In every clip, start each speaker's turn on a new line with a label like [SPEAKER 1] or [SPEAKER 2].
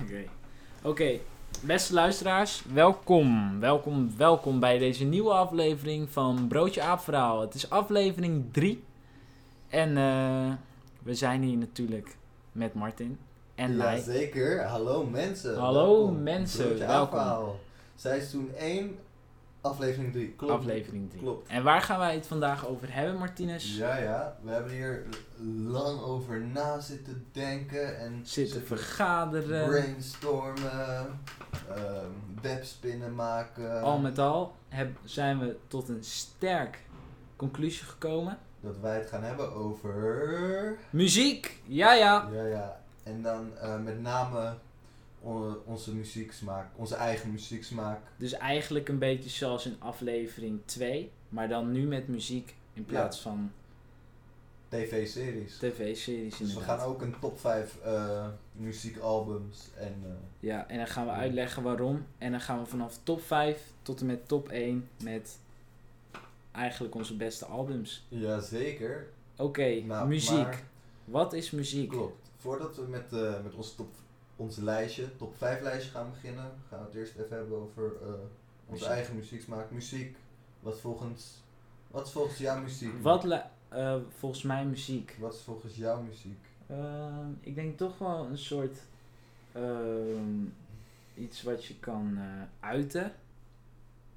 [SPEAKER 1] Oké. Oké, beste luisteraars, welkom. Welkom, welkom bij deze nieuwe aflevering van Broodje Aap Verhaal. Het is aflevering 3. En eh, we zijn hier natuurlijk met Martin en mij.
[SPEAKER 2] Jazeker, hallo mensen.
[SPEAKER 1] Hallo mensen,
[SPEAKER 2] Broertje
[SPEAKER 1] welkom.
[SPEAKER 2] Aapverhaal. Seizoen 1, aflevering 3. Klopt.
[SPEAKER 1] Aflevering 3.
[SPEAKER 2] Klopt.
[SPEAKER 1] En waar gaan wij het vandaag over hebben, Martinez?
[SPEAKER 2] Ja, ja, we hebben hier lang over na zitten denken en
[SPEAKER 1] Zitten vergaderen,
[SPEAKER 2] brainstormen, ehm, webspinnen maken.
[SPEAKER 1] al met al heb, zijn we tot een sterk conclusie gekomen.
[SPEAKER 2] Dat wij het gaan hebben over.
[SPEAKER 1] Muziek, ja ja.
[SPEAKER 2] Ja, ja. En dan eh, met name on- onze muzieksmaak, onze eigen muzieksmaak.
[SPEAKER 1] Dus eigenlijk een beetje zoals in aflevering 2, maar dan nu met muziek in plaats van
[SPEAKER 2] TV-series.
[SPEAKER 1] tv-series
[SPEAKER 2] Dus we
[SPEAKER 1] inderdaad.
[SPEAKER 2] gaan ook een top 5 eh, muziekalbums en eh,
[SPEAKER 1] Ja, en dan gaan we uitleggen waarom. En dan gaan we vanaf top 5 tot en met top 1 met eigenlijk onze beste albums.
[SPEAKER 2] jazeker.
[SPEAKER 1] Oké,
[SPEAKER 2] Nou,
[SPEAKER 1] muziek.
[SPEAKER 2] maar-
[SPEAKER 1] Wat is muziek?
[SPEAKER 2] Klopt. Voordat we met, eh, met ons, top, ons lijstje, top 5 lijstje gaan beginnen, gaan we het eerst even hebben over eh, onze
[SPEAKER 1] Muziek.
[SPEAKER 2] eigen muzieksmaak. Muziek, wat volgens, wat is volgens jouw muziek?
[SPEAKER 1] Wat lu- eh, volgens mij muziek.
[SPEAKER 2] Wat is volgens jouw muziek?
[SPEAKER 1] Ehm, ik denk toch wel een soort ehm, iets wat je kan eh, uiten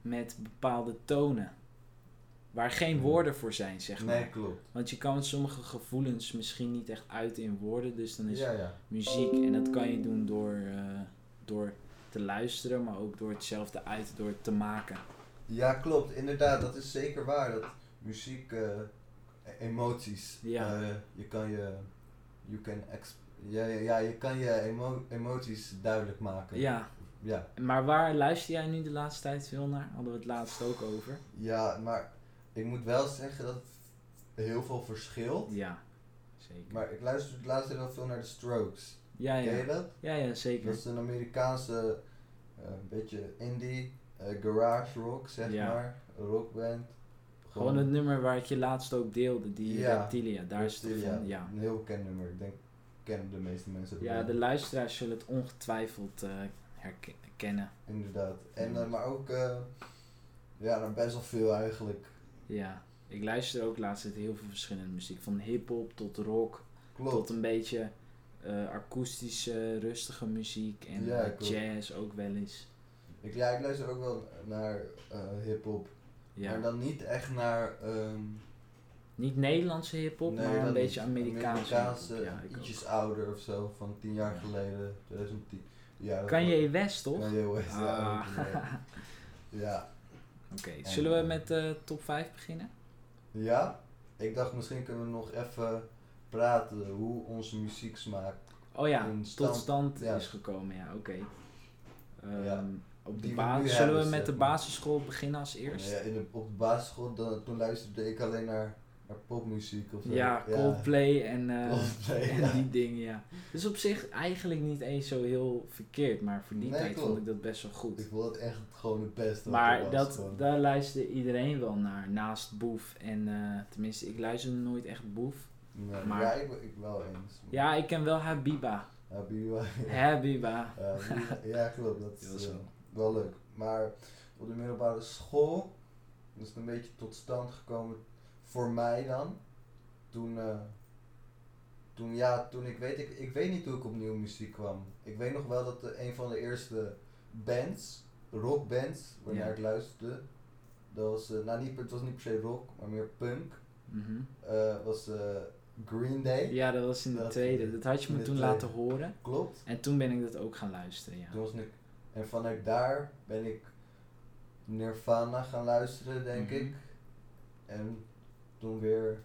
[SPEAKER 1] met bepaalde tonen. Waar geen
[SPEAKER 2] Hmm.
[SPEAKER 1] woorden voor zijn, zeg maar.
[SPEAKER 2] Nee, klopt.
[SPEAKER 1] Want je kan sommige gevoelens misschien niet echt uiten in woorden. Dus dan is
[SPEAKER 2] Ja, ja.
[SPEAKER 1] muziek. En dat kan je doen door, eh, door te luisteren, maar ook door hetzelfde uit, door het te maken.
[SPEAKER 2] Ja, klopt. Inderdaad, dat is zeker waar. Dat muziek, eh, emoties.
[SPEAKER 1] Ja.
[SPEAKER 2] eh, je kan je, you can exp- ja, ja, ja, je kan je emo- emoties duidelijk maken.
[SPEAKER 1] Ja,
[SPEAKER 2] Ja.
[SPEAKER 1] maar waar luister jij nu de laatste tijd veel naar? Hadden we het laatst ook over.
[SPEAKER 2] Ja, maar ik moet wel zeggen dat het heel veel verschilt.
[SPEAKER 1] Ja, zeker.
[SPEAKER 2] Maar ik luister de laatste tijd wel veel naar de Strokes.
[SPEAKER 1] ja, Ah, ja.
[SPEAKER 2] Ken je dat?
[SPEAKER 1] Ja, ja, zeker.
[SPEAKER 2] Dat is een Amerikaanse, eh, beetje indie, eh, garage rock, zeg
[SPEAKER 1] Ja.
[SPEAKER 2] maar. Rockband.
[SPEAKER 1] Gewoon het nummer waar ik je laatst ook deelde, die
[SPEAKER 2] Ja.
[SPEAKER 1] Reptilia. Daar is het
[SPEAKER 2] Reptilia,
[SPEAKER 1] van, ja.
[SPEAKER 2] Een heel bekend nummer. Ik denk, kennen de meeste mensen. het
[SPEAKER 1] Ja,
[SPEAKER 2] wel.
[SPEAKER 1] de luisteraars zullen het ongetwijfeld eh, herkennen.
[SPEAKER 2] Inderdaad. En,
[SPEAKER 1] Ja.
[SPEAKER 2] eh, maar ook, eh, ja, nou, best wel veel eigenlijk.
[SPEAKER 1] Ja. Ik luister ook laatst tijd heel veel verschillende muziek. Van hip-hop tot rock, tot
[SPEAKER 2] Klopt.
[SPEAKER 1] een beetje eh, akoestische, rustige muziek. En
[SPEAKER 2] Ja,
[SPEAKER 1] eh,
[SPEAKER 2] klopt.
[SPEAKER 1] jazz ook wel eens.
[SPEAKER 2] Ik, ja, ik luister ook wel naar eh, hip-hop. Maar
[SPEAKER 1] Ja.
[SPEAKER 2] dan niet echt naar ehm,
[SPEAKER 1] Niet Nederlandse hip-hop,
[SPEAKER 2] nee,
[SPEAKER 1] maar
[SPEAKER 2] dan
[SPEAKER 1] een beetje
[SPEAKER 2] niet.
[SPEAKER 1] Amerikaanse.
[SPEAKER 2] Amerikaanse,
[SPEAKER 1] hiphop. Ja, ik
[SPEAKER 2] ietsjes ouder of zo, van 10 jaar
[SPEAKER 1] Ja.
[SPEAKER 2] geleden, 2010. Ja,
[SPEAKER 1] ook.
[SPEAKER 2] dat
[SPEAKER 1] Kan
[SPEAKER 2] wel.
[SPEAKER 1] je West toch? Oké,
[SPEAKER 2] Kanye West, ja,
[SPEAKER 1] Ah.
[SPEAKER 2] ook, ja. ja.
[SPEAKER 1] zullen we met eh, top 5 beginnen?
[SPEAKER 2] Ja? Ik dacht misschien kunnen we nog even praten hoe onze muziek smaakt.
[SPEAKER 1] Oh ja,
[SPEAKER 2] in
[SPEAKER 1] tot
[SPEAKER 2] stand-
[SPEAKER 1] stand
[SPEAKER 2] ja.
[SPEAKER 1] is gekomen, ja, oké. Ehm,
[SPEAKER 2] Ja,
[SPEAKER 1] Op
[SPEAKER 2] die
[SPEAKER 1] de
[SPEAKER 2] we
[SPEAKER 1] ba-
[SPEAKER 2] nu
[SPEAKER 1] Zullen we
[SPEAKER 2] hebben,
[SPEAKER 1] met
[SPEAKER 2] zeg
[SPEAKER 1] de
[SPEAKER 2] maar.
[SPEAKER 1] basisschool beginnen als eerst?
[SPEAKER 2] Nou Ja, in de, op de basisschool dan, toen luisterde ik alleen naar, naar popmuziek of zo.
[SPEAKER 1] Ja, Coldplay en, eh,
[SPEAKER 2] Coldplay,
[SPEAKER 1] en
[SPEAKER 2] ja.
[SPEAKER 1] die dingen, ja. Dus op zich eigenlijk niet eens zo heel verkeerd, maar voor die
[SPEAKER 2] Nee,
[SPEAKER 1] tijd
[SPEAKER 2] klopt.
[SPEAKER 1] vond ik dat best wel goed.
[SPEAKER 2] Ik vond het echt gewoon het beste. wat er
[SPEAKER 1] Maar
[SPEAKER 2] was,
[SPEAKER 1] dat,
[SPEAKER 2] gewoon.
[SPEAKER 1] daar luisterde iedereen wel naar, naast Boef en eh, tenminste, ik luisterde nooit echt Boef.
[SPEAKER 2] Nee,
[SPEAKER 1] maar-
[SPEAKER 2] Ja, ik, ik wel eens.
[SPEAKER 1] Ja, ik ken wel Habiba.
[SPEAKER 2] Habiba.
[SPEAKER 1] Habiba.
[SPEAKER 2] Ja, Habiba. Eh, ja, klopt. Dat
[SPEAKER 1] Ja,
[SPEAKER 2] is
[SPEAKER 1] zo.
[SPEAKER 2] eh, wel leuk. Maar op de middelbare school is het een beetje tot stand gekomen voor mij dan. Toen, eh, toen ja, toen ik weet, ik, ik weet niet hoe ik op nieuwe muziek kwam. Ik weet nog wel dat eh, een van de eerste bands, rockbands, waarnaar
[SPEAKER 1] Ja.
[SPEAKER 2] ik luisterde, dat was, eh, nou niet, per- het was niet per se rock, maar meer punk,
[SPEAKER 1] Mhm.
[SPEAKER 2] eh, was eh, Green Day.
[SPEAKER 1] Ja, dat was in de
[SPEAKER 2] Dat- eh,
[SPEAKER 1] tweede. Dat had je me
[SPEAKER 2] in de
[SPEAKER 1] toen
[SPEAKER 2] tweede.
[SPEAKER 1] laten horen.
[SPEAKER 2] Klopt.
[SPEAKER 1] En toen ben ik dat ook gaan luisteren, ja.
[SPEAKER 2] Toen was ik, en vanuit daar ben ik Nirvana gaan luisteren, denk
[SPEAKER 1] Mhm.
[SPEAKER 2] ik. En toen weer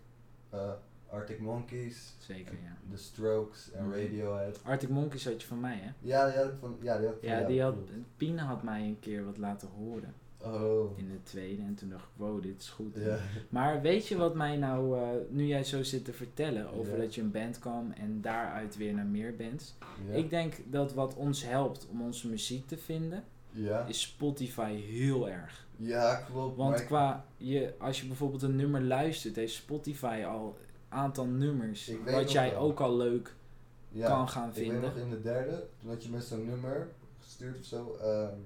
[SPEAKER 2] eh, Arctic Monkeys,
[SPEAKER 1] Zeker, ja.
[SPEAKER 2] The Strokes en
[SPEAKER 1] Mhm.
[SPEAKER 2] Radiohead.
[SPEAKER 1] Arctic Monkeys had je van mij, hè?
[SPEAKER 2] Ja, die had ik van, ja, die had ik van
[SPEAKER 1] Ja,
[SPEAKER 2] jou,
[SPEAKER 1] die had,
[SPEAKER 2] klopt.
[SPEAKER 1] Pien had mij een keer wat laten horen
[SPEAKER 2] Oh,
[SPEAKER 1] in de tweede. En toen dacht ik, wow, dit is goed.
[SPEAKER 2] ja.
[SPEAKER 1] Maar weet je wat mij nou, eh, nu jij zo zit te vertellen over
[SPEAKER 2] Ja.
[SPEAKER 1] dat je een band kwam en daaruit weer naar meer bands.
[SPEAKER 2] Ja.
[SPEAKER 1] Ik denk dat wat ons helpt om onze muziek te vinden,
[SPEAKER 2] ja.
[SPEAKER 1] is Spotify heel erg.
[SPEAKER 2] ja, klopt. maar
[SPEAKER 1] Want
[SPEAKER 2] ik-
[SPEAKER 1] qua, je, als je bijvoorbeeld een nummer luistert, heeft Spotify al een aantal nummers
[SPEAKER 2] Ik weet
[SPEAKER 1] wat
[SPEAKER 2] nog
[SPEAKER 1] jij
[SPEAKER 2] wel.
[SPEAKER 1] ook al leuk
[SPEAKER 2] Ja,
[SPEAKER 1] kan gaan
[SPEAKER 2] ik weet nog
[SPEAKER 1] vinden.
[SPEAKER 2] in de derde, toen had je me zo'n nummer gestuurd of zo. ehm,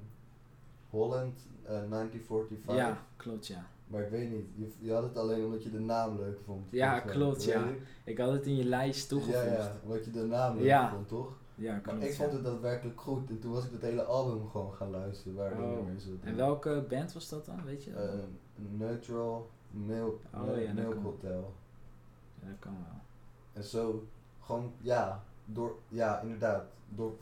[SPEAKER 2] Holland eh, 1945.
[SPEAKER 1] Ja, klopt ja.
[SPEAKER 2] Maar ik weet niet, je, je had het alleen omdat je de naam leuk vond.
[SPEAKER 1] Ja,
[SPEAKER 2] Of zo,
[SPEAKER 1] klopt,
[SPEAKER 2] weet
[SPEAKER 1] ja.
[SPEAKER 2] ik.
[SPEAKER 1] Ik had het in je lijst
[SPEAKER 2] Ja,
[SPEAKER 1] toegevoegd.
[SPEAKER 2] ja,
[SPEAKER 1] Ja,
[SPEAKER 2] omdat je de naam leuk
[SPEAKER 1] Ja.
[SPEAKER 2] vond, toch? Maar
[SPEAKER 1] klopt.
[SPEAKER 2] ik
[SPEAKER 1] ja.
[SPEAKER 2] vond het daadwerkelijk goed en toen was ik het hele album gewoon gaan luisteren waar de
[SPEAKER 1] Oh.
[SPEAKER 2] nummer in zat.
[SPEAKER 1] En welke band was dat dan, weet je? dat?
[SPEAKER 2] Eh, neutral Milk,
[SPEAKER 1] Oh, ja, dat
[SPEAKER 2] milk
[SPEAKER 1] kan.
[SPEAKER 2] Hotel.
[SPEAKER 1] ja, dat kan wel.
[SPEAKER 2] En zo, gewoon, ja, door, ja, inderdaad, door,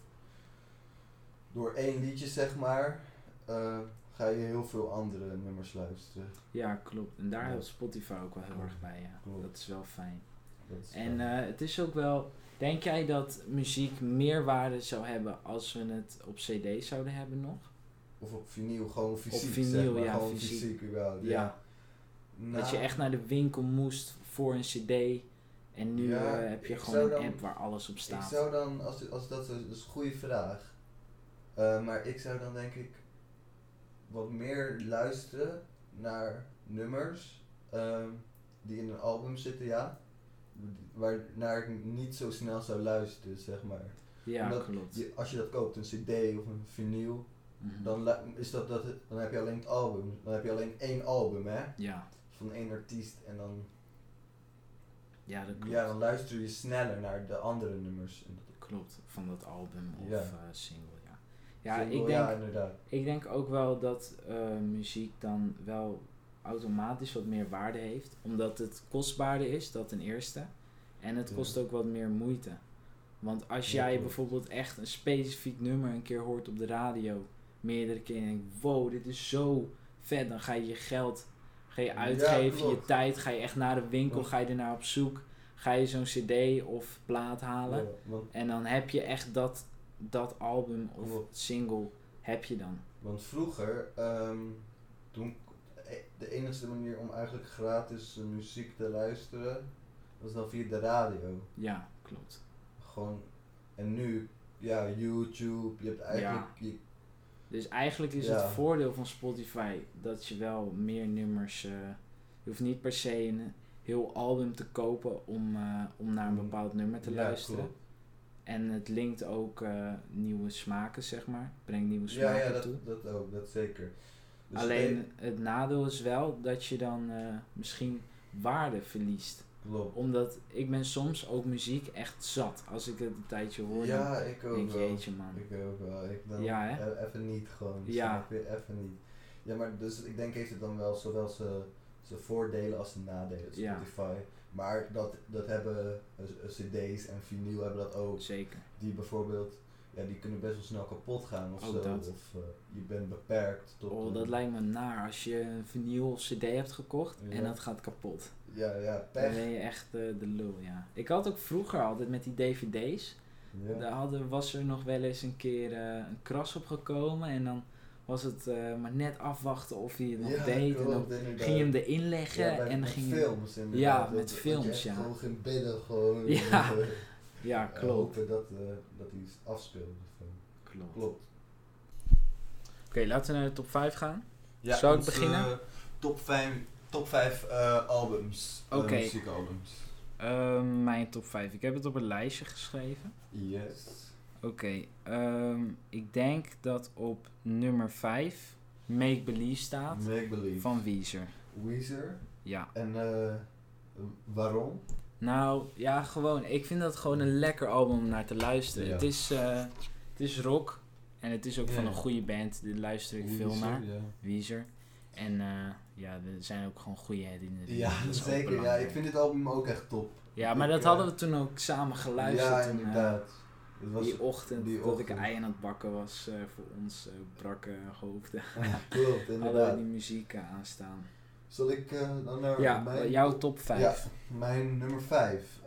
[SPEAKER 2] door één liedje, zeg maar, eh, ga je heel veel andere nummers luisteren.
[SPEAKER 1] Ja, klopt. En daar
[SPEAKER 2] Ja.
[SPEAKER 1] helpt Spotify ook wel heel erg bij, ja.
[SPEAKER 2] Klopt.
[SPEAKER 1] Dat is wel fijn.
[SPEAKER 2] Dat is
[SPEAKER 1] En
[SPEAKER 2] wel-
[SPEAKER 1] eh, het is ook wel... Denk jij dat muziek meer waarde zou hebben als we het op cd zouden hebben nog?
[SPEAKER 2] of op vinyl, gewoon fysiek, zeg
[SPEAKER 1] vinyl,
[SPEAKER 2] maar,
[SPEAKER 1] ja,
[SPEAKER 2] gewoon
[SPEAKER 1] fysiek.
[SPEAKER 2] fysiek. überhaupt, ja.
[SPEAKER 1] Dat je
[SPEAKER 2] Nou,
[SPEAKER 1] echt naar de winkel moest voor een cd. En nu
[SPEAKER 2] Ja,
[SPEAKER 1] eh, heb je
[SPEAKER 2] ik
[SPEAKER 1] gewoon een
[SPEAKER 2] zou dan-
[SPEAKER 1] app waar alles op staat.
[SPEAKER 2] Ik zou dan, als, als dat zo- dat is een goede vraag, Eh, maar ik zou dan denk ik wat meer luisteren naar nummers ehm, die in een album zitten, ja. Waarnaar ik niet zo snel zou luisteren, zeg maar.
[SPEAKER 1] Ja,
[SPEAKER 2] Omdat
[SPEAKER 1] klopt.
[SPEAKER 2] Je- als je dat koopt, een cd of een vinyl,
[SPEAKER 1] Mhm.
[SPEAKER 2] dan, lu- is dat, dat, dan heb je alleen het album. Dan heb je alleen één album, hè.
[SPEAKER 1] Ja.
[SPEAKER 2] Van één artiest en dan,
[SPEAKER 1] ja, dat klopt.
[SPEAKER 2] ja, dan luister je sneller naar de andere nummers. En dat-
[SPEAKER 1] Klopt, van dat album of
[SPEAKER 2] Ja.
[SPEAKER 1] eh, single, ja. Ja,
[SPEAKER 2] Single,
[SPEAKER 1] ik, denk,
[SPEAKER 2] ja, inderdaad.
[SPEAKER 1] ik denk ook wel dat eh, muziek dan wel automatisch wat meer waarde heeft. Omdat het kostbaarder is, dat ten eerste. En het
[SPEAKER 2] Ja.
[SPEAKER 1] kost ook wat meer moeite. Want als
[SPEAKER 2] Ja,
[SPEAKER 1] jij
[SPEAKER 2] klopt.
[SPEAKER 1] bijvoorbeeld echt een specifiek nummer een keer hoort op de radio, meerdere keren, en je denkt, wow, dit is zo vet, dan ga je je geld ga je
[SPEAKER 2] Ja,
[SPEAKER 1] uitgeven, je
[SPEAKER 2] klopt.
[SPEAKER 1] tijd, ga je echt naar de winkel,
[SPEAKER 2] Klopt.
[SPEAKER 1] ga je ernaar op zoek, ga je zo'n cd of plaat halen.
[SPEAKER 2] Ja, want
[SPEAKER 1] En dan heb je echt dat, dat album of
[SPEAKER 2] Klopt.
[SPEAKER 1] single heb je dan.
[SPEAKER 2] Want vroeger, ehm, toen e, de enige manier om eigenlijk gratis eh, muziek te luisteren, was dan via de radio.
[SPEAKER 1] Ja, klopt.
[SPEAKER 2] Gewoon, en nu, ja, YouTube, je hebt eigenlijk, je-
[SPEAKER 1] Dus eigenlijk is
[SPEAKER 2] Ja.
[SPEAKER 1] het voordeel van Spotify dat je wel meer nummers. eh, je hoeft niet per se een heel album te kopen om, eh, om naar een
[SPEAKER 2] Om-
[SPEAKER 1] bepaald nummer te
[SPEAKER 2] Mm. ja,
[SPEAKER 1] luisteren.
[SPEAKER 2] klopt.
[SPEAKER 1] En het linkt ook eh, nieuwe smaken, zeg maar. Brengt nieuwe
[SPEAKER 2] Ja,
[SPEAKER 1] smaken
[SPEAKER 2] ja, dat,
[SPEAKER 1] toe.
[SPEAKER 2] dat ook, dat zeker. Dus nee,
[SPEAKER 1] Alleen het nadeel is wel dat je dan eh, misschien waarde verliest.
[SPEAKER 2] klopt.
[SPEAKER 1] Omdat ik ben soms ook muziek echt zat. Als ik het een tijdje hoor,
[SPEAKER 2] Ja, ik
[SPEAKER 1] dan
[SPEAKER 2] ook
[SPEAKER 1] denk je,
[SPEAKER 2] wel.
[SPEAKER 1] jeetje man.
[SPEAKER 2] Ik ook wel. Ik dan
[SPEAKER 1] Ja, hè?
[SPEAKER 2] e- even niet gewoon.
[SPEAKER 1] Ja.
[SPEAKER 2] snap je? Even niet. Ja, maar dus ik denk heeft het dan wel zowel zijn zijn voordelen als zijn nadelen.
[SPEAKER 1] Ja.
[SPEAKER 2] Spotify. Maar dat, dat hebben eh, eh, cd's en vinyl hebben dat ook.
[SPEAKER 1] Zeker.
[SPEAKER 2] Die bijvoorbeeld, ja, die kunnen best wel snel kapot gaan of
[SPEAKER 1] Ook
[SPEAKER 2] zo.
[SPEAKER 1] dat.
[SPEAKER 2] Of eh, je bent beperkt tot...
[SPEAKER 1] Oh,
[SPEAKER 2] een-
[SPEAKER 1] dat lijkt me naar. Als je een vinyl of cd hebt gekocht en
[SPEAKER 2] Ja.
[SPEAKER 1] dat gaat kapot.
[SPEAKER 2] Ja, ja,
[SPEAKER 1] Dan
[SPEAKER 2] pech.
[SPEAKER 1] ben je echt eh, de lul, ja. Ik had ook vroeger altijd met die dvd's.
[SPEAKER 2] Ja.
[SPEAKER 1] Daar hadden, was er nog wel eens een keer eh, een kras op gekomen. En dan was het eh, maar net afwachten of hij het nog
[SPEAKER 2] Ja,
[SPEAKER 1] deed. En
[SPEAKER 2] klopt,
[SPEAKER 1] dan
[SPEAKER 2] inderdaad.
[SPEAKER 1] ging je hem erin leggen
[SPEAKER 2] Ja, bij-
[SPEAKER 1] en dan
[SPEAKER 2] met
[SPEAKER 1] ging je-
[SPEAKER 2] films inderdaad.
[SPEAKER 1] Ja,
[SPEAKER 2] Dat-
[SPEAKER 1] met
[SPEAKER 2] dat je
[SPEAKER 1] films,
[SPEAKER 2] echt
[SPEAKER 1] ja.
[SPEAKER 2] Gewoon ging bidden, gewoon.
[SPEAKER 1] Ja.
[SPEAKER 2] eh,
[SPEAKER 1] Ja,
[SPEAKER 2] eh,
[SPEAKER 1] klopt.
[SPEAKER 2] Hopen dat, eh, dat hij afspeelde.
[SPEAKER 1] klopt. Oké,
[SPEAKER 2] Klopt.
[SPEAKER 1] laten we naar de top 5 gaan. Zou ik
[SPEAKER 2] onze
[SPEAKER 1] beginnen?
[SPEAKER 2] eh, Top 5, top vijf, eh, albums. Eh,
[SPEAKER 1] Oké.
[SPEAKER 2] muziekalbums.
[SPEAKER 1] Ehm, mijn top 5. Ik heb het op een lijstje geschreven.
[SPEAKER 2] Yes.
[SPEAKER 1] Oké, ehm, ik denk dat op nummer 5 Make Believe staat
[SPEAKER 2] Make Believe.
[SPEAKER 1] van Weezer.
[SPEAKER 2] Weezer.
[SPEAKER 1] Ja.
[SPEAKER 2] En eh, waarom?
[SPEAKER 1] Nou, ja, gewoon. Ik vind dat gewoon een lekker album om naar te luisteren.
[SPEAKER 2] Ja.
[SPEAKER 1] Het, is, eh, het is rock en het is ook van
[SPEAKER 2] Ja.
[SPEAKER 1] een goede band. Dit luister ik veel
[SPEAKER 2] Weezer,
[SPEAKER 1] naar.
[SPEAKER 2] Ja,
[SPEAKER 1] Weezer. En eh, ja, er zijn ook gewoon goede herinneringen.
[SPEAKER 2] ja
[SPEAKER 1] Dat is ook
[SPEAKER 2] zeker. Ja,
[SPEAKER 1] belangrijk.
[SPEAKER 2] ik vind dit album ook echt top.
[SPEAKER 1] ja, maar
[SPEAKER 2] ik,
[SPEAKER 1] dat
[SPEAKER 2] eh,
[SPEAKER 1] hadden we toen ook samen geluisterd.
[SPEAKER 2] ja,
[SPEAKER 1] toen, eh,
[SPEAKER 2] inderdaad. Het was
[SPEAKER 1] die ochtend
[SPEAKER 2] die
[SPEAKER 1] dat ik
[SPEAKER 2] ochtend.
[SPEAKER 1] ei aan het bakken was eh, voor ons eh, brakke hoofden.
[SPEAKER 2] klopt,
[SPEAKER 1] Hadden we
[SPEAKER 2] inderdaad.
[SPEAKER 1] die muziek eh, aanstaan.
[SPEAKER 2] Zal ik eh, dan naar
[SPEAKER 1] Ja,
[SPEAKER 2] mijn...
[SPEAKER 1] jouw top 5.
[SPEAKER 2] Mijn nummer 5.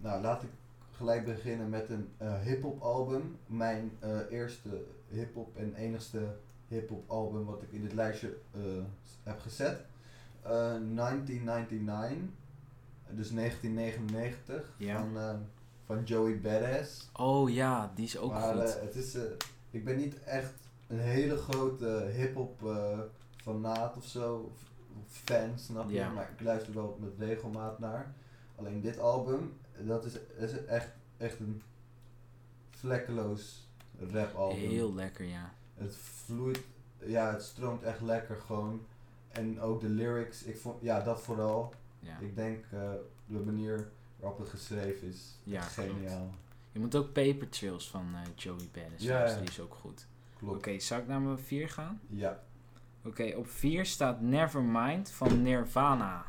[SPEAKER 2] nou, laat ik gelijk beginnen met een eh hip-hop album. Mijn eh, eerste hip-hop en enigste hip-hop album wat ik in dit lijstje eh, s- heb gezet. Eh, 1999, dus 1999,
[SPEAKER 1] Ja.
[SPEAKER 2] van, eh, van Joey Badass.
[SPEAKER 1] Oh ja, die is ook
[SPEAKER 2] maar
[SPEAKER 1] goed.
[SPEAKER 2] eh, het is, eh, ik ben niet echt een hele grote hip-hop eh, fanaat of zo, of fan, snap je?
[SPEAKER 1] Ja.
[SPEAKER 2] Maar ik luister wel met regelmaat naar. Alleen dit album, dat is, is echt, echt een vlekkeloos rapalbum.
[SPEAKER 1] Heel lekker, ja.
[SPEAKER 2] Het vloeit, ja, het stroomt echt lekker gewoon. En ook de lyrics, ik vond, ja, dat vooral.
[SPEAKER 1] ja.
[SPEAKER 2] Ik denk eh, de manier waarop het geschreven is,
[SPEAKER 1] Ja,
[SPEAKER 2] echt geniaal.
[SPEAKER 1] Je moet ook Paper Trails van eh, Joey Badass
[SPEAKER 2] Ja,
[SPEAKER 1] luisteren,
[SPEAKER 2] ja.
[SPEAKER 1] die is ook goed. Oké,
[SPEAKER 2] Klopt.
[SPEAKER 1] zou ik naar mijn 4 gaan?
[SPEAKER 2] Ja.
[SPEAKER 1] Oké, op 4 staat Nevermind van Nirvana.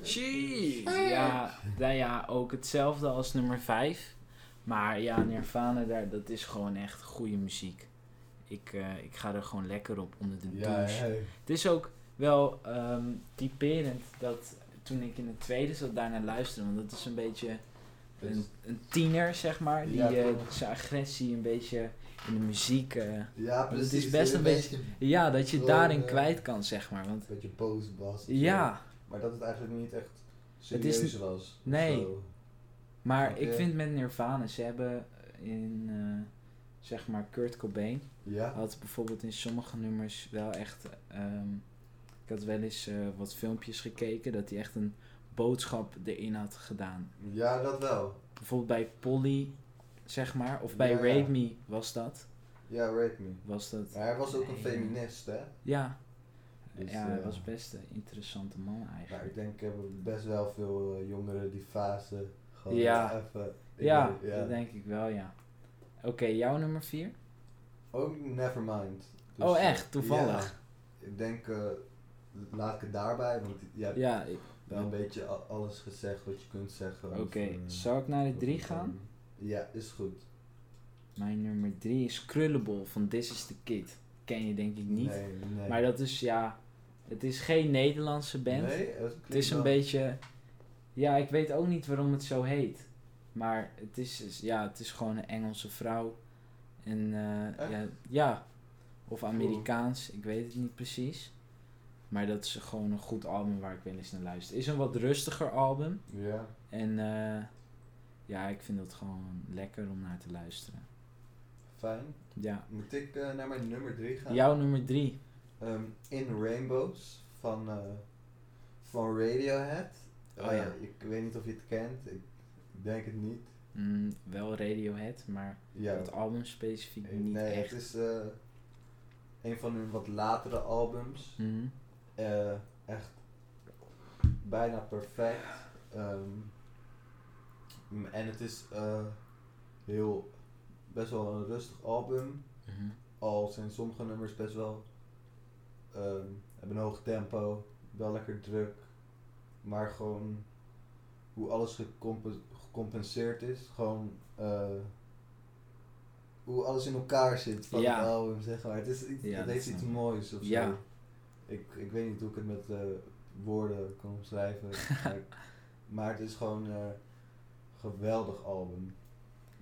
[SPEAKER 1] Jeez! Ja, nou ja, ook hetzelfde als nummer 5. Maar ja, Nirvana, daar, dat is gewoon echt goede muziek. Ik, eh, ik ga er gewoon lekker op onder de
[SPEAKER 2] Ja,
[SPEAKER 1] douche.
[SPEAKER 2] hey.
[SPEAKER 1] Het is ook wel ehm, typerend dat toen ik in de tweede zat daarnaar luisterde, want dat is een beetje een, een tiener, zeg maar, die
[SPEAKER 2] Ja,
[SPEAKER 1] eh,
[SPEAKER 2] klopt.
[SPEAKER 1] zijn agressie een beetje in de muziek. eh,
[SPEAKER 2] ja,
[SPEAKER 1] het
[SPEAKER 2] precies. eh,
[SPEAKER 1] is best een beetje-
[SPEAKER 2] Een
[SPEAKER 1] ja, dat je
[SPEAKER 2] Wel,
[SPEAKER 1] daarin
[SPEAKER 2] eh,
[SPEAKER 1] kwijt kan, zeg maar. Want
[SPEAKER 2] beetje boos was.
[SPEAKER 1] ja,
[SPEAKER 2] Maar dat het eigenlijk niet echt
[SPEAKER 1] Het is
[SPEAKER 2] serieus was. of
[SPEAKER 1] nee.
[SPEAKER 2] zo.
[SPEAKER 1] maar
[SPEAKER 2] Oké.
[SPEAKER 1] ik vind met Nirvana, ze hebben in, eh, zeg maar, Kurt Cobain.
[SPEAKER 2] Ja?
[SPEAKER 1] had bijvoorbeeld in sommige nummers wel echt. ehm, ik had wel eens eh, wat filmpjes gekeken dat hij echt een boodschap erin had gedaan.
[SPEAKER 2] Ja, dat wel.
[SPEAKER 1] Bijvoorbeeld bij Polly, zeg maar, of bij
[SPEAKER 2] Ja, ja.
[SPEAKER 1] Raid Me was dat.
[SPEAKER 2] Ja, rape me.
[SPEAKER 1] Was dat.
[SPEAKER 2] Maar hij was ook een
[SPEAKER 1] Nee.
[SPEAKER 2] feminist, hè?
[SPEAKER 1] Ja,
[SPEAKER 2] Dus,
[SPEAKER 1] ja hij
[SPEAKER 2] eh,
[SPEAKER 1] was best een interessante man
[SPEAKER 2] Maar ik
[SPEAKER 1] eigenlijk.
[SPEAKER 2] denk hebben best wel veel eh, jongeren die fase gewoon
[SPEAKER 1] Ja.
[SPEAKER 2] even... ik
[SPEAKER 1] Ja,
[SPEAKER 2] weet-
[SPEAKER 1] dat denk ik wel, ja. Oké, jouw nummer 4?
[SPEAKER 2] Ook Nevermind. Dus,
[SPEAKER 1] oh,
[SPEAKER 2] eh,
[SPEAKER 1] echt? Toevallig.
[SPEAKER 2] ja, ik denk, eh, laat ik het daarbij, want je
[SPEAKER 1] Ja,
[SPEAKER 2] hebt
[SPEAKER 1] ik-
[SPEAKER 2] wel een beetje a- alles gezegd wat je kunt zeggen.
[SPEAKER 1] oké.
[SPEAKER 2] over, eh,
[SPEAKER 1] Zou ik naar de
[SPEAKER 2] over
[SPEAKER 1] 3
[SPEAKER 2] het
[SPEAKER 1] gaan?
[SPEAKER 2] album. Ja, is goed.
[SPEAKER 1] Mijn nummer 3 is Krullebol van This is the Kid. Ken je denk ik niet.
[SPEAKER 2] Nee, nee.
[SPEAKER 1] Maar dat is ja, het is geen Nederlandse band.
[SPEAKER 2] Nee, het,
[SPEAKER 1] het is een beetje, ja, ik weet ook niet waarom het zo heet. Maar het is, is- ja, het is gewoon een Engelse vrouw. En eh,
[SPEAKER 2] Echt?
[SPEAKER 1] ja, ja, of Amerikaans, ik weet het niet precies. Maar dat is gewoon een goed album waar ik wel eens naar luister. Het is een wat rustiger album.
[SPEAKER 2] Ja.
[SPEAKER 1] En eh, ja, ik vind dat gewoon lekker om naar te luisteren.
[SPEAKER 2] Fijn.
[SPEAKER 1] Ja,
[SPEAKER 2] Moet ik eh, naar mijn nummer 3 gaan?
[SPEAKER 1] jouw nummer drie.
[SPEAKER 2] Ehm, In Rainbows van, eh, van Radiohead.
[SPEAKER 1] Oh
[SPEAKER 2] Oh, ja.
[SPEAKER 1] ja.
[SPEAKER 2] ik weet niet of je het kent. Ik denk het niet.
[SPEAKER 1] Mm, wel Radiohead, maar
[SPEAKER 2] Ja.
[SPEAKER 1] dat album specifiek
[SPEAKER 2] Eh,
[SPEAKER 1] niet
[SPEAKER 2] nee,
[SPEAKER 1] echt.
[SPEAKER 2] het is eh, een van hun wat latere albums.
[SPEAKER 1] Mhm.
[SPEAKER 2] Eh, echt bijna perfect. Ehm, mm, en het is eh, heel best wel een rustig album.
[SPEAKER 1] Mhm.
[SPEAKER 2] Al zijn sommige nummers best wel ehm, hebben een hoog tempo, wel lekker druk, maar gewoon hoe alles gecompe- gecompenseerd is, gewoon eh, hoe alles in elkaar zit van
[SPEAKER 1] Ja.
[SPEAKER 2] het album zeg maar. Het, is iets,
[SPEAKER 1] Ja,
[SPEAKER 2] het
[SPEAKER 1] dat
[SPEAKER 2] heeft
[SPEAKER 1] snap
[SPEAKER 2] iets
[SPEAKER 1] ik.
[SPEAKER 2] moois of
[SPEAKER 1] Ja.
[SPEAKER 2] zo. Ik, ik weet niet hoe ik het met eh, woorden kan omschrijven, maar, maar het is gewoon eh, een geweldig album.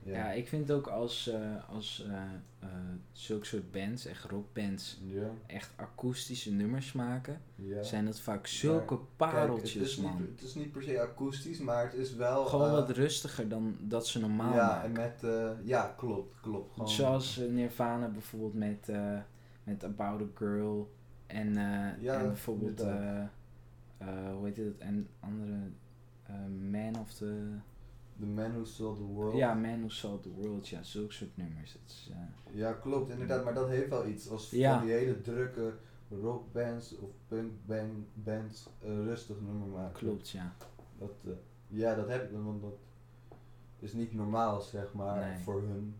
[SPEAKER 1] Ja. ik vind ook als, eh, als eh, eh, zulke soort bands, echt rockbands,
[SPEAKER 2] ja.
[SPEAKER 1] echt akoestische nummers maken,
[SPEAKER 2] ja.
[SPEAKER 1] zijn dat vaak zulke pareltjes,
[SPEAKER 2] Kijk, het, is niet,
[SPEAKER 1] man.
[SPEAKER 2] het is niet per se akoestisch, maar het is wel.
[SPEAKER 1] Gewoon
[SPEAKER 2] eh,
[SPEAKER 1] wat rustiger dan dat ze normaal
[SPEAKER 2] Ja, en
[SPEAKER 1] maken.
[SPEAKER 2] met. eh, ja, klopt, klopt. Gewoon,
[SPEAKER 1] Zoals eh, Nirvana bijvoorbeeld met, eh, met About a Girl en, eh,
[SPEAKER 2] Ja,
[SPEAKER 1] en bijvoorbeeld,
[SPEAKER 2] inderdaad.
[SPEAKER 1] eh, eh, hoe heet het, en andere, eh, Man of the...
[SPEAKER 2] The Man Who Sold the World.
[SPEAKER 1] Ja, Man Who Sold the World, ja, zulke soort nummers. Dat is, eh,
[SPEAKER 2] Ja, klopt, inderdaad, maar dat heeft wel iets. Als
[SPEAKER 1] Ja.
[SPEAKER 2] van die hele drukke rockbands of punkbands bands een rustig nummer maken.
[SPEAKER 1] klopt, ja.
[SPEAKER 2] Dat, eh, ja, dat heb ik, want dat is niet normaal, zeg maar,
[SPEAKER 1] Nee.
[SPEAKER 2] voor hun.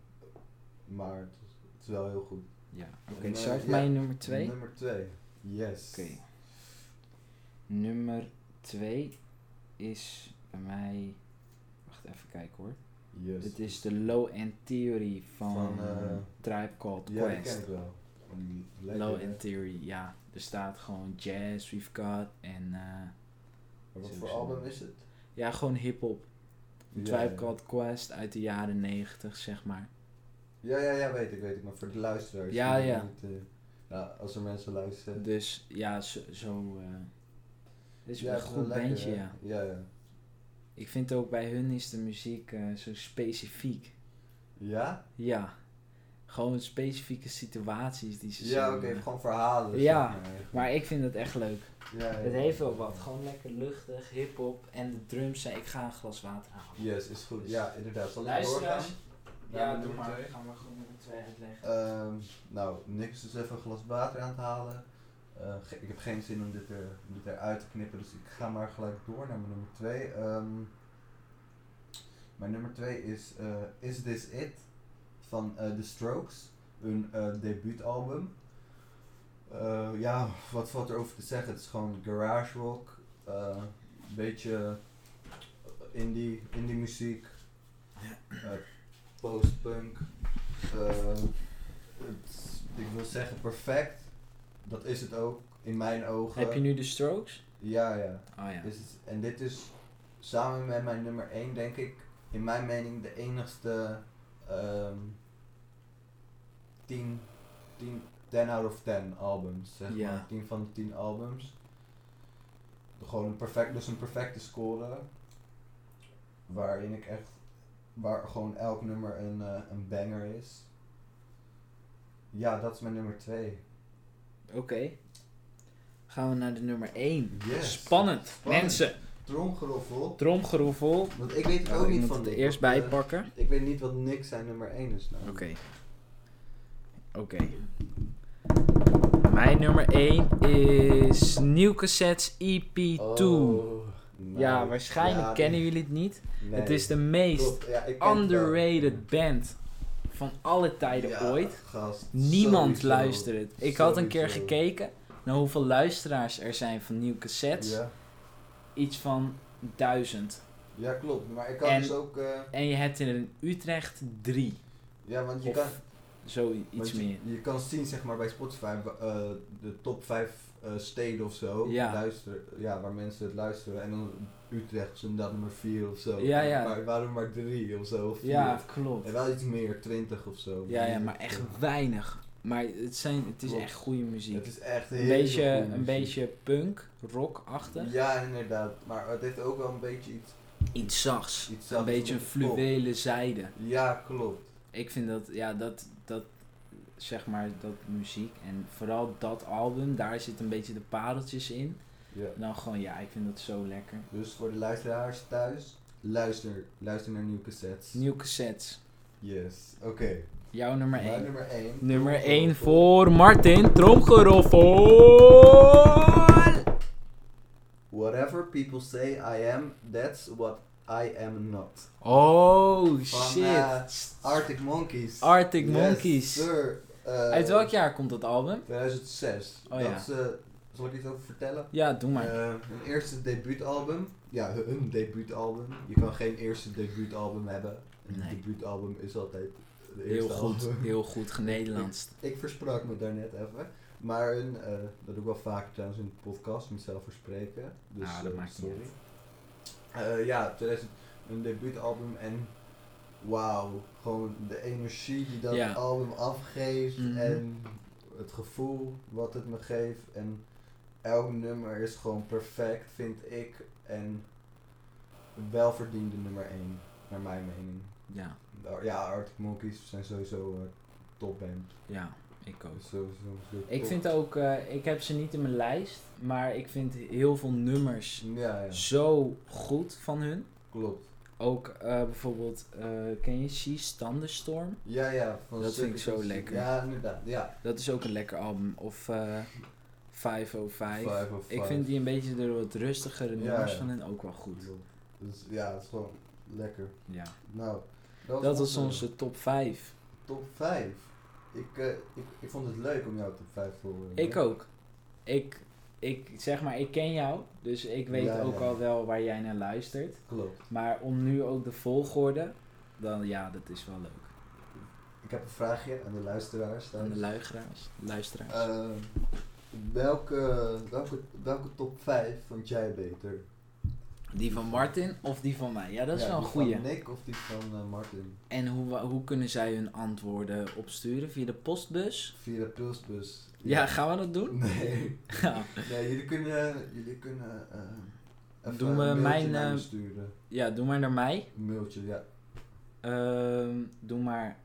[SPEAKER 2] Maar het is, het is wel heel goed.
[SPEAKER 1] Ja, oké.
[SPEAKER 2] En, eh,
[SPEAKER 1] zou ik
[SPEAKER 2] ja,
[SPEAKER 1] mijn nummer 2? Oké.
[SPEAKER 2] Nummer 2. Yes.
[SPEAKER 1] Nummer 2 is bij mij. Wacht even kijken hoor.
[SPEAKER 2] Yes.
[SPEAKER 1] Het is de Low End Theory van,
[SPEAKER 2] Van, eh,
[SPEAKER 1] Tribe Called
[SPEAKER 2] Ja, die ken
[SPEAKER 1] Quest.
[SPEAKER 2] ik wel. Mm, Lekker,
[SPEAKER 1] Low
[SPEAKER 2] hè?
[SPEAKER 1] End Theory, ja. Er staat gewoon jazz, we've got en eh,
[SPEAKER 2] Maar Wat voor
[SPEAKER 1] Sowieso.
[SPEAKER 2] album is het?
[SPEAKER 1] ja, gewoon hip-hop.
[SPEAKER 2] Ja,
[SPEAKER 1] Tribe
[SPEAKER 2] ja.
[SPEAKER 1] Called Quest uit de jaren 90, zeg maar.
[SPEAKER 2] Ja, ja, ja, weet ik, weet ik. Maar voor de luisteraars.
[SPEAKER 1] Ja,
[SPEAKER 2] die
[SPEAKER 1] ja.
[SPEAKER 2] niet, eh, nou, als er mensen luisteren.
[SPEAKER 1] Dus ja, zo. zo eh, het is
[SPEAKER 2] Ja,
[SPEAKER 1] wel een
[SPEAKER 2] het
[SPEAKER 1] goed
[SPEAKER 2] lekker,
[SPEAKER 1] bandje,
[SPEAKER 2] hè?
[SPEAKER 1] ja.
[SPEAKER 2] Ja, ja.
[SPEAKER 1] Ik vind ook bij hun is de muziek eh, zo specifiek.
[SPEAKER 2] Ja?
[SPEAKER 1] Ja. Gewoon specifieke situaties die ze
[SPEAKER 2] Ja,
[SPEAKER 1] zo,
[SPEAKER 2] oké,
[SPEAKER 1] eh,
[SPEAKER 2] gewoon verhalen.
[SPEAKER 1] Ja,
[SPEAKER 2] zeg maar.
[SPEAKER 1] Maar ik vind het echt leuk.
[SPEAKER 2] Ja, ja.
[SPEAKER 1] Het heeft wel wat. Gewoon lekker luchtig, hip-hop en de drums zijn. Ik ga een glas water halen.
[SPEAKER 2] Yes, is goed. Ja, inderdaad. Zal ik
[SPEAKER 1] Luisteraars,
[SPEAKER 2] doorgaan? naar
[SPEAKER 3] Ja,
[SPEAKER 2] de
[SPEAKER 3] doe
[SPEAKER 2] nummer
[SPEAKER 3] maar.
[SPEAKER 2] twee.
[SPEAKER 3] Gaan we gewoon nummer 2 uitleggen.
[SPEAKER 2] Ehm, nou, niks is even een glas water aan het halen. Eh, ge- ik heb geen zin om dit, er, om dit eruit te knippen, dus ik ga maar gelijk door naar mijn nummer 2. mijn nummer 2 is eh, Is This It van eh, The Strokes, hun eh, debuutalbum. Eh, ja, wat valt er over te zeggen? Het is gewoon garage rock, eh, een beetje indie, indie muziek, eh, post-punk. Eh, het- ik wil zeggen perfect. Dat is het ook, in mijn ogen.
[SPEAKER 1] Heb je nu de strokes?
[SPEAKER 2] Ja, ja.
[SPEAKER 1] Oh ja.
[SPEAKER 2] Dit is- Dus en dit is samen met mijn nummer 1, denk ik, in mijn mening de enigste ehm 10, 10, 10 out of 10 albums. Zeg
[SPEAKER 1] Ja.
[SPEAKER 2] maar 10 van de 10 albums. Gewoon een perfect, dus een perfecte score. Waarin ik echt, waar gewoon elk nummer een, eh, een banger is. Ja, dat is mijn nummer 2.
[SPEAKER 1] Oké. Gaan we naar de nummer 1.
[SPEAKER 2] Yes.
[SPEAKER 1] Spannend.
[SPEAKER 2] Spannend.
[SPEAKER 1] Mensen,
[SPEAKER 2] Tromgeroffel.
[SPEAKER 1] tromgeroffel.
[SPEAKER 2] Want ik weet het
[SPEAKER 1] Oh,
[SPEAKER 2] ook
[SPEAKER 1] ik
[SPEAKER 2] niet
[SPEAKER 1] moet
[SPEAKER 2] van
[SPEAKER 1] het er
[SPEAKER 2] Nick,
[SPEAKER 1] eerst
[SPEAKER 2] want,
[SPEAKER 1] bij
[SPEAKER 2] eh,
[SPEAKER 1] pakken.
[SPEAKER 2] Ik weet niet wat Nick zijn nummer 1 is nou.
[SPEAKER 1] Oké. Oké. Mijn nummer 1 is Nieuw Cassettes EP2.
[SPEAKER 2] Oh,
[SPEAKER 1] ja,
[SPEAKER 2] nice.
[SPEAKER 1] waarschijnlijk
[SPEAKER 2] Ja,
[SPEAKER 1] kennen
[SPEAKER 2] die-
[SPEAKER 1] jullie het niet.
[SPEAKER 2] nee.
[SPEAKER 1] Het is de meest
[SPEAKER 2] Klopt, ja, ik ken het wel.
[SPEAKER 1] underrated band van alle tijden
[SPEAKER 2] Ja,
[SPEAKER 1] ooit.
[SPEAKER 2] gast,
[SPEAKER 1] Niemand
[SPEAKER 2] sowieso.
[SPEAKER 1] luistert het. Ik had een keer
[SPEAKER 2] Sowieso.
[SPEAKER 1] gekeken naar hoeveel luisteraars er zijn van Nieuw Cassettes.
[SPEAKER 2] Ja.
[SPEAKER 1] Iets van duizend.
[SPEAKER 2] ja, klopt. Maar ik kan
[SPEAKER 1] En-
[SPEAKER 2] dus ook... eh,
[SPEAKER 1] En je hebt er in Utrecht drie.
[SPEAKER 2] ja, want je
[SPEAKER 1] Of
[SPEAKER 2] kan... want
[SPEAKER 1] Zoiets
[SPEAKER 2] je-
[SPEAKER 1] meer.
[SPEAKER 2] Je, kan zien, zeg maar, bij Spotify wa- eh, de top 5 steden of zo.
[SPEAKER 1] Ja.
[SPEAKER 2] Luister, ja, waar mensen het luisteren. En dan Utrecht is inderdaad nummer 4 of zo.
[SPEAKER 1] Ja, ja.
[SPEAKER 2] Maar waarom maar 3 of zo? Of
[SPEAKER 1] Ja,
[SPEAKER 2] vier?
[SPEAKER 1] klopt.
[SPEAKER 2] En wel iets meer, 20 of zo.
[SPEAKER 1] Ja, ja, maar echt weinig. Maar het, zijn, het is
[SPEAKER 2] Klopt.
[SPEAKER 1] echt goede
[SPEAKER 2] Het
[SPEAKER 1] muziek.
[SPEAKER 2] is echt heel
[SPEAKER 1] Een beetje,
[SPEAKER 2] goede
[SPEAKER 1] een
[SPEAKER 2] muziek.
[SPEAKER 1] beetje punk, rockachtig.
[SPEAKER 2] Ja, inderdaad. Maar het heeft ook wel een beetje iets...
[SPEAKER 1] Iets zachts.
[SPEAKER 2] Iets
[SPEAKER 1] Een
[SPEAKER 2] zachts,
[SPEAKER 1] beetje een
[SPEAKER 2] wat klopt.
[SPEAKER 1] fluwelen zijde.
[SPEAKER 2] Ja, klopt.
[SPEAKER 1] Ik vind dat, ja, dat, dat, zeg maar, dat muziek. En vooral dat album, daar zitten een beetje de pareltjes in.
[SPEAKER 2] Ja.
[SPEAKER 1] En dan gewoon, ja, ik vind dat zo lekker.
[SPEAKER 2] Dus voor de luisteraars thuis, luister, luister naar nieuwe cassettes.
[SPEAKER 1] Nieuw cassettes.
[SPEAKER 2] Yes, oké.
[SPEAKER 1] Jouw nummer
[SPEAKER 2] Mijn
[SPEAKER 1] 1.
[SPEAKER 2] nummer 1.
[SPEAKER 1] Nummer 1 voor Martin Tromgeroffel.
[SPEAKER 2] Whatever people say I am, that's what I am not.
[SPEAKER 1] Oh,
[SPEAKER 2] Van,
[SPEAKER 1] shit.
[SPEAKER 2] eh, Arctic Monkeys.
[SPEAKER 1] Arctic
[SPEAKER 2] Yes,
[SPEAKER 1] Monkeys.
[SPEAKER 2] sir. Eh,
[SPEAKER 1] Uit welk jaar komt dat album?
[SPEAKER 2] 2006.
[SPEAKER 1] Oh,
[SPEAKER 2] dat
[SPEAKER 1] ja.
[SPEAKER 2] is, eh, zal ik iets over vertellen?
[SPEAKER 1] Ja, doe maar.
[SPEAKER 2] Eh, hun eerste debuutalbum. Ja, hun debuutalbum. Je kan geen eerste debuutalbum hebben. Een
[SPEAKER 1] Nee.
[SPEAKER 2] debuutalbum is altijd de eerste
[SPEAKER 1] heel goed,
[SPEAKER 2] album.
[SPEAKER 1] heel goed genederlandst.
[SPEAKER 2] Ik versprak me daarnet even. Maar hun, eh, dat doe ik wel vaak trouwens in de podcast, mezelf verspreken. Dus,
[SPEAKER 1] Nou, dat
[SPEAKER 2] eh,
[SPEAKER 1] maakt niet
[SPEAKER 2] sorry. Eh, ja, 2000, hun debuutalbum en wauw, gewoon de energie die dat
[SPEAKER 1] Ja.
[SPEAKER 2] album afgeeft
[SPEAKER 1] Mhm.
[SPEAKER 2] en het gevoel wat het me geeft. En elk nummer is gewoon perfect, vind ik. En een welverdiende nummer 1, naar mijn mening.
[SPEAKER 1] Ja,
[SPEAKER 2] Ja, Arctic Monkeys zijn sowieso eh, topband.
[SPEAKER 1] ja, ik ook.
[SPEAKER 2] Sowieso natuurlijk
[SPEAKER 1] Ik
[SPEAKER 2] top.
[SPEAKER 1] vind ook, eh, ik heb ze niet in mijn lijst, maar ik vind heel veel nummers
[SPEAKER 2] Ja, ja,
[SPEAKER 1] zo goed van hun.
[SPEAKER 2] klopt.
[SPEAKER 1] Ook eh, bijvoorbeeld, eh, ken je She's Thunderstorm?
[SPEAKER 2] Ja, ja. Van
[SPEAKER 1] Dat vind ik
[SPEAKER 2] Circus
[SPEAKER 1] zo
[SPEAKER 2] Circus.
[SPEAKER 1] lekker.
[SPEAKER 2] Ja, inderdaad. Ja.
[SPEAKER 1] Dat is ook een lekker album. Of eh 505.
[SPEAKER 2] Five of
[SPEAKER 1] Ik
[SPEAKER 2] Five.
[SPEAKER 1] vind die een beetje de wat rustigere
[SPEAKER 2] oh Ja,
[SPEAKER 1] nummers
[SPEAKER 2] ja.
[SPEAKER 1] van hen ook wel goed.
[SPEAKER 2] Klopt. Dus ja, het is gewoon lekker.
[SPEAKER 1] Ja.
[SPEAKER 2] Nou,
[SPEAKER 1] Dat was
[SPEAKER 2] onze
[SPEAKER 1] onze top 5.
[SPEAKER 2] top 5. Ik, eh, ik, ik vond het leuk om jouw top 5 te horen.
[SPEAKER 1] Ik ook. Ik, ik zeg maar, ik ken jou, dus ik weet
[SPEAKER 2] Ja,
[SPEAKER 1] ook
[SPEAKER 2] ja.
[SPEAKER 1] al wel waar jij naar luistert.
[SPEAKER 2] Klopt.
[SPEAKER 1] Maar om nu ook de volgorde, dan ja, dat is wel leuk.
[SPEAKER 2] Ik heb een vraagje aan de luisteraars.
[SPEAKER 1] Aan de
[SPEAKER 2] thuis.
[SPEAKER 1] luisteraars. luisteraars.
[SPEAKER 2] Eh, welke, welke, welke top 5 vond jij beter?
[SPEAKER 1] die van Martin of die van mij? Ja, dat is
[SPEAKER 2] Ja,
[SPEAKER 1] wel een
[SPEAKER 2] die
[SPEAKER 1] goeie.
[SPEAKER 2] Van Nick of die van eh, Martin?
[SPEAKER 1] En hoe, wa- hoe kunnen zij hun antwoorden opsturen? Via de postbus?
[SPEAKER 2] Via de Pulsbus.
[SPEAKER 1] Ja, gaan we dat doen?
[SPEAKER 2] Nee.
[SPEAKER 1] Ja.
[SPEAKER 2] Nee, jullie kunnen. Jullie kunnen eh, even
[SPEAKER 1] Doen
[SPEAKER 2] een
[SPEAKER 1] we
[SPEAKER 2] mailtje
[SPEAKER 1] mijn,
[SPEAKER 2] naar me
[SPEAKER 1] eh,
[SPEAKER 2] sturen.
[SPEAKER 1] ja, doe maar naar mij.
[SPEAKER 2] Een mailtje, ja.
[SPEAKER 1] Ehm, doe maar...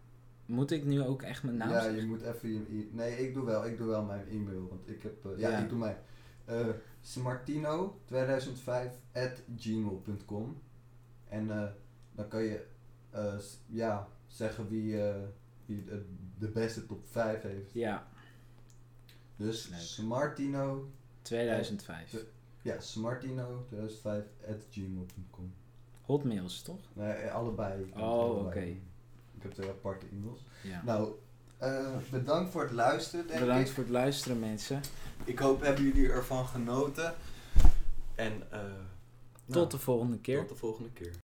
[SPEAKER 1] Moet ik nu ook echt mijn naam
[SPEAKER 2] ja,
[SPEAKER 1] zeggen?
[SPEAKER 2] je moet even je. e- Nee, ik doe wel, ik doe wel mijn e-mail. Want ik heb. eh, ja,
[SPEAKER 1] Ja.
[SPEAKER 2] ik doe mijn. eh Smartino2005 at gmail.com. En eh, dan kan je. eh, s- ja, zeggen wie, eh, wie het- de beste top 5 heeft.
[SPEAKER 1] Ja,
[SPEAKER 2] Dus
[SPEAKER 1] Leuk.
[SPEAKER 2] Smartino,
[SPEAKER 1] 2005.
[SPEAKER 2] ja, Smartino 2005 at gmail.com.
[SPEAKER 1] Hot mails, toch?
[SPEAKER 2] Nee, allebei. Ik heb
[SPEAKER 1] Oh,
[SPEAKER 2] het allebei.
[SPEAKER 1] oké.
[SPEAKER 2] Ik heb twee aparte e-mails.
[SPEAKER 1] Ja.
[SPEAKER 2] Nou, eh, bedankt voor het luisteren, denk
[SPEAKER 1] Bedankt
[SPEAKER 2] ik.
[SPEAKER 1] voor het luisteren, mensen.
[SPEAKER 2] Ik hoop hebben jullie ervan genoten. En eh, nou,
[SPEAKER 1] Tot de volgende keer.
[SPEAKER 2] tot de volgende keer.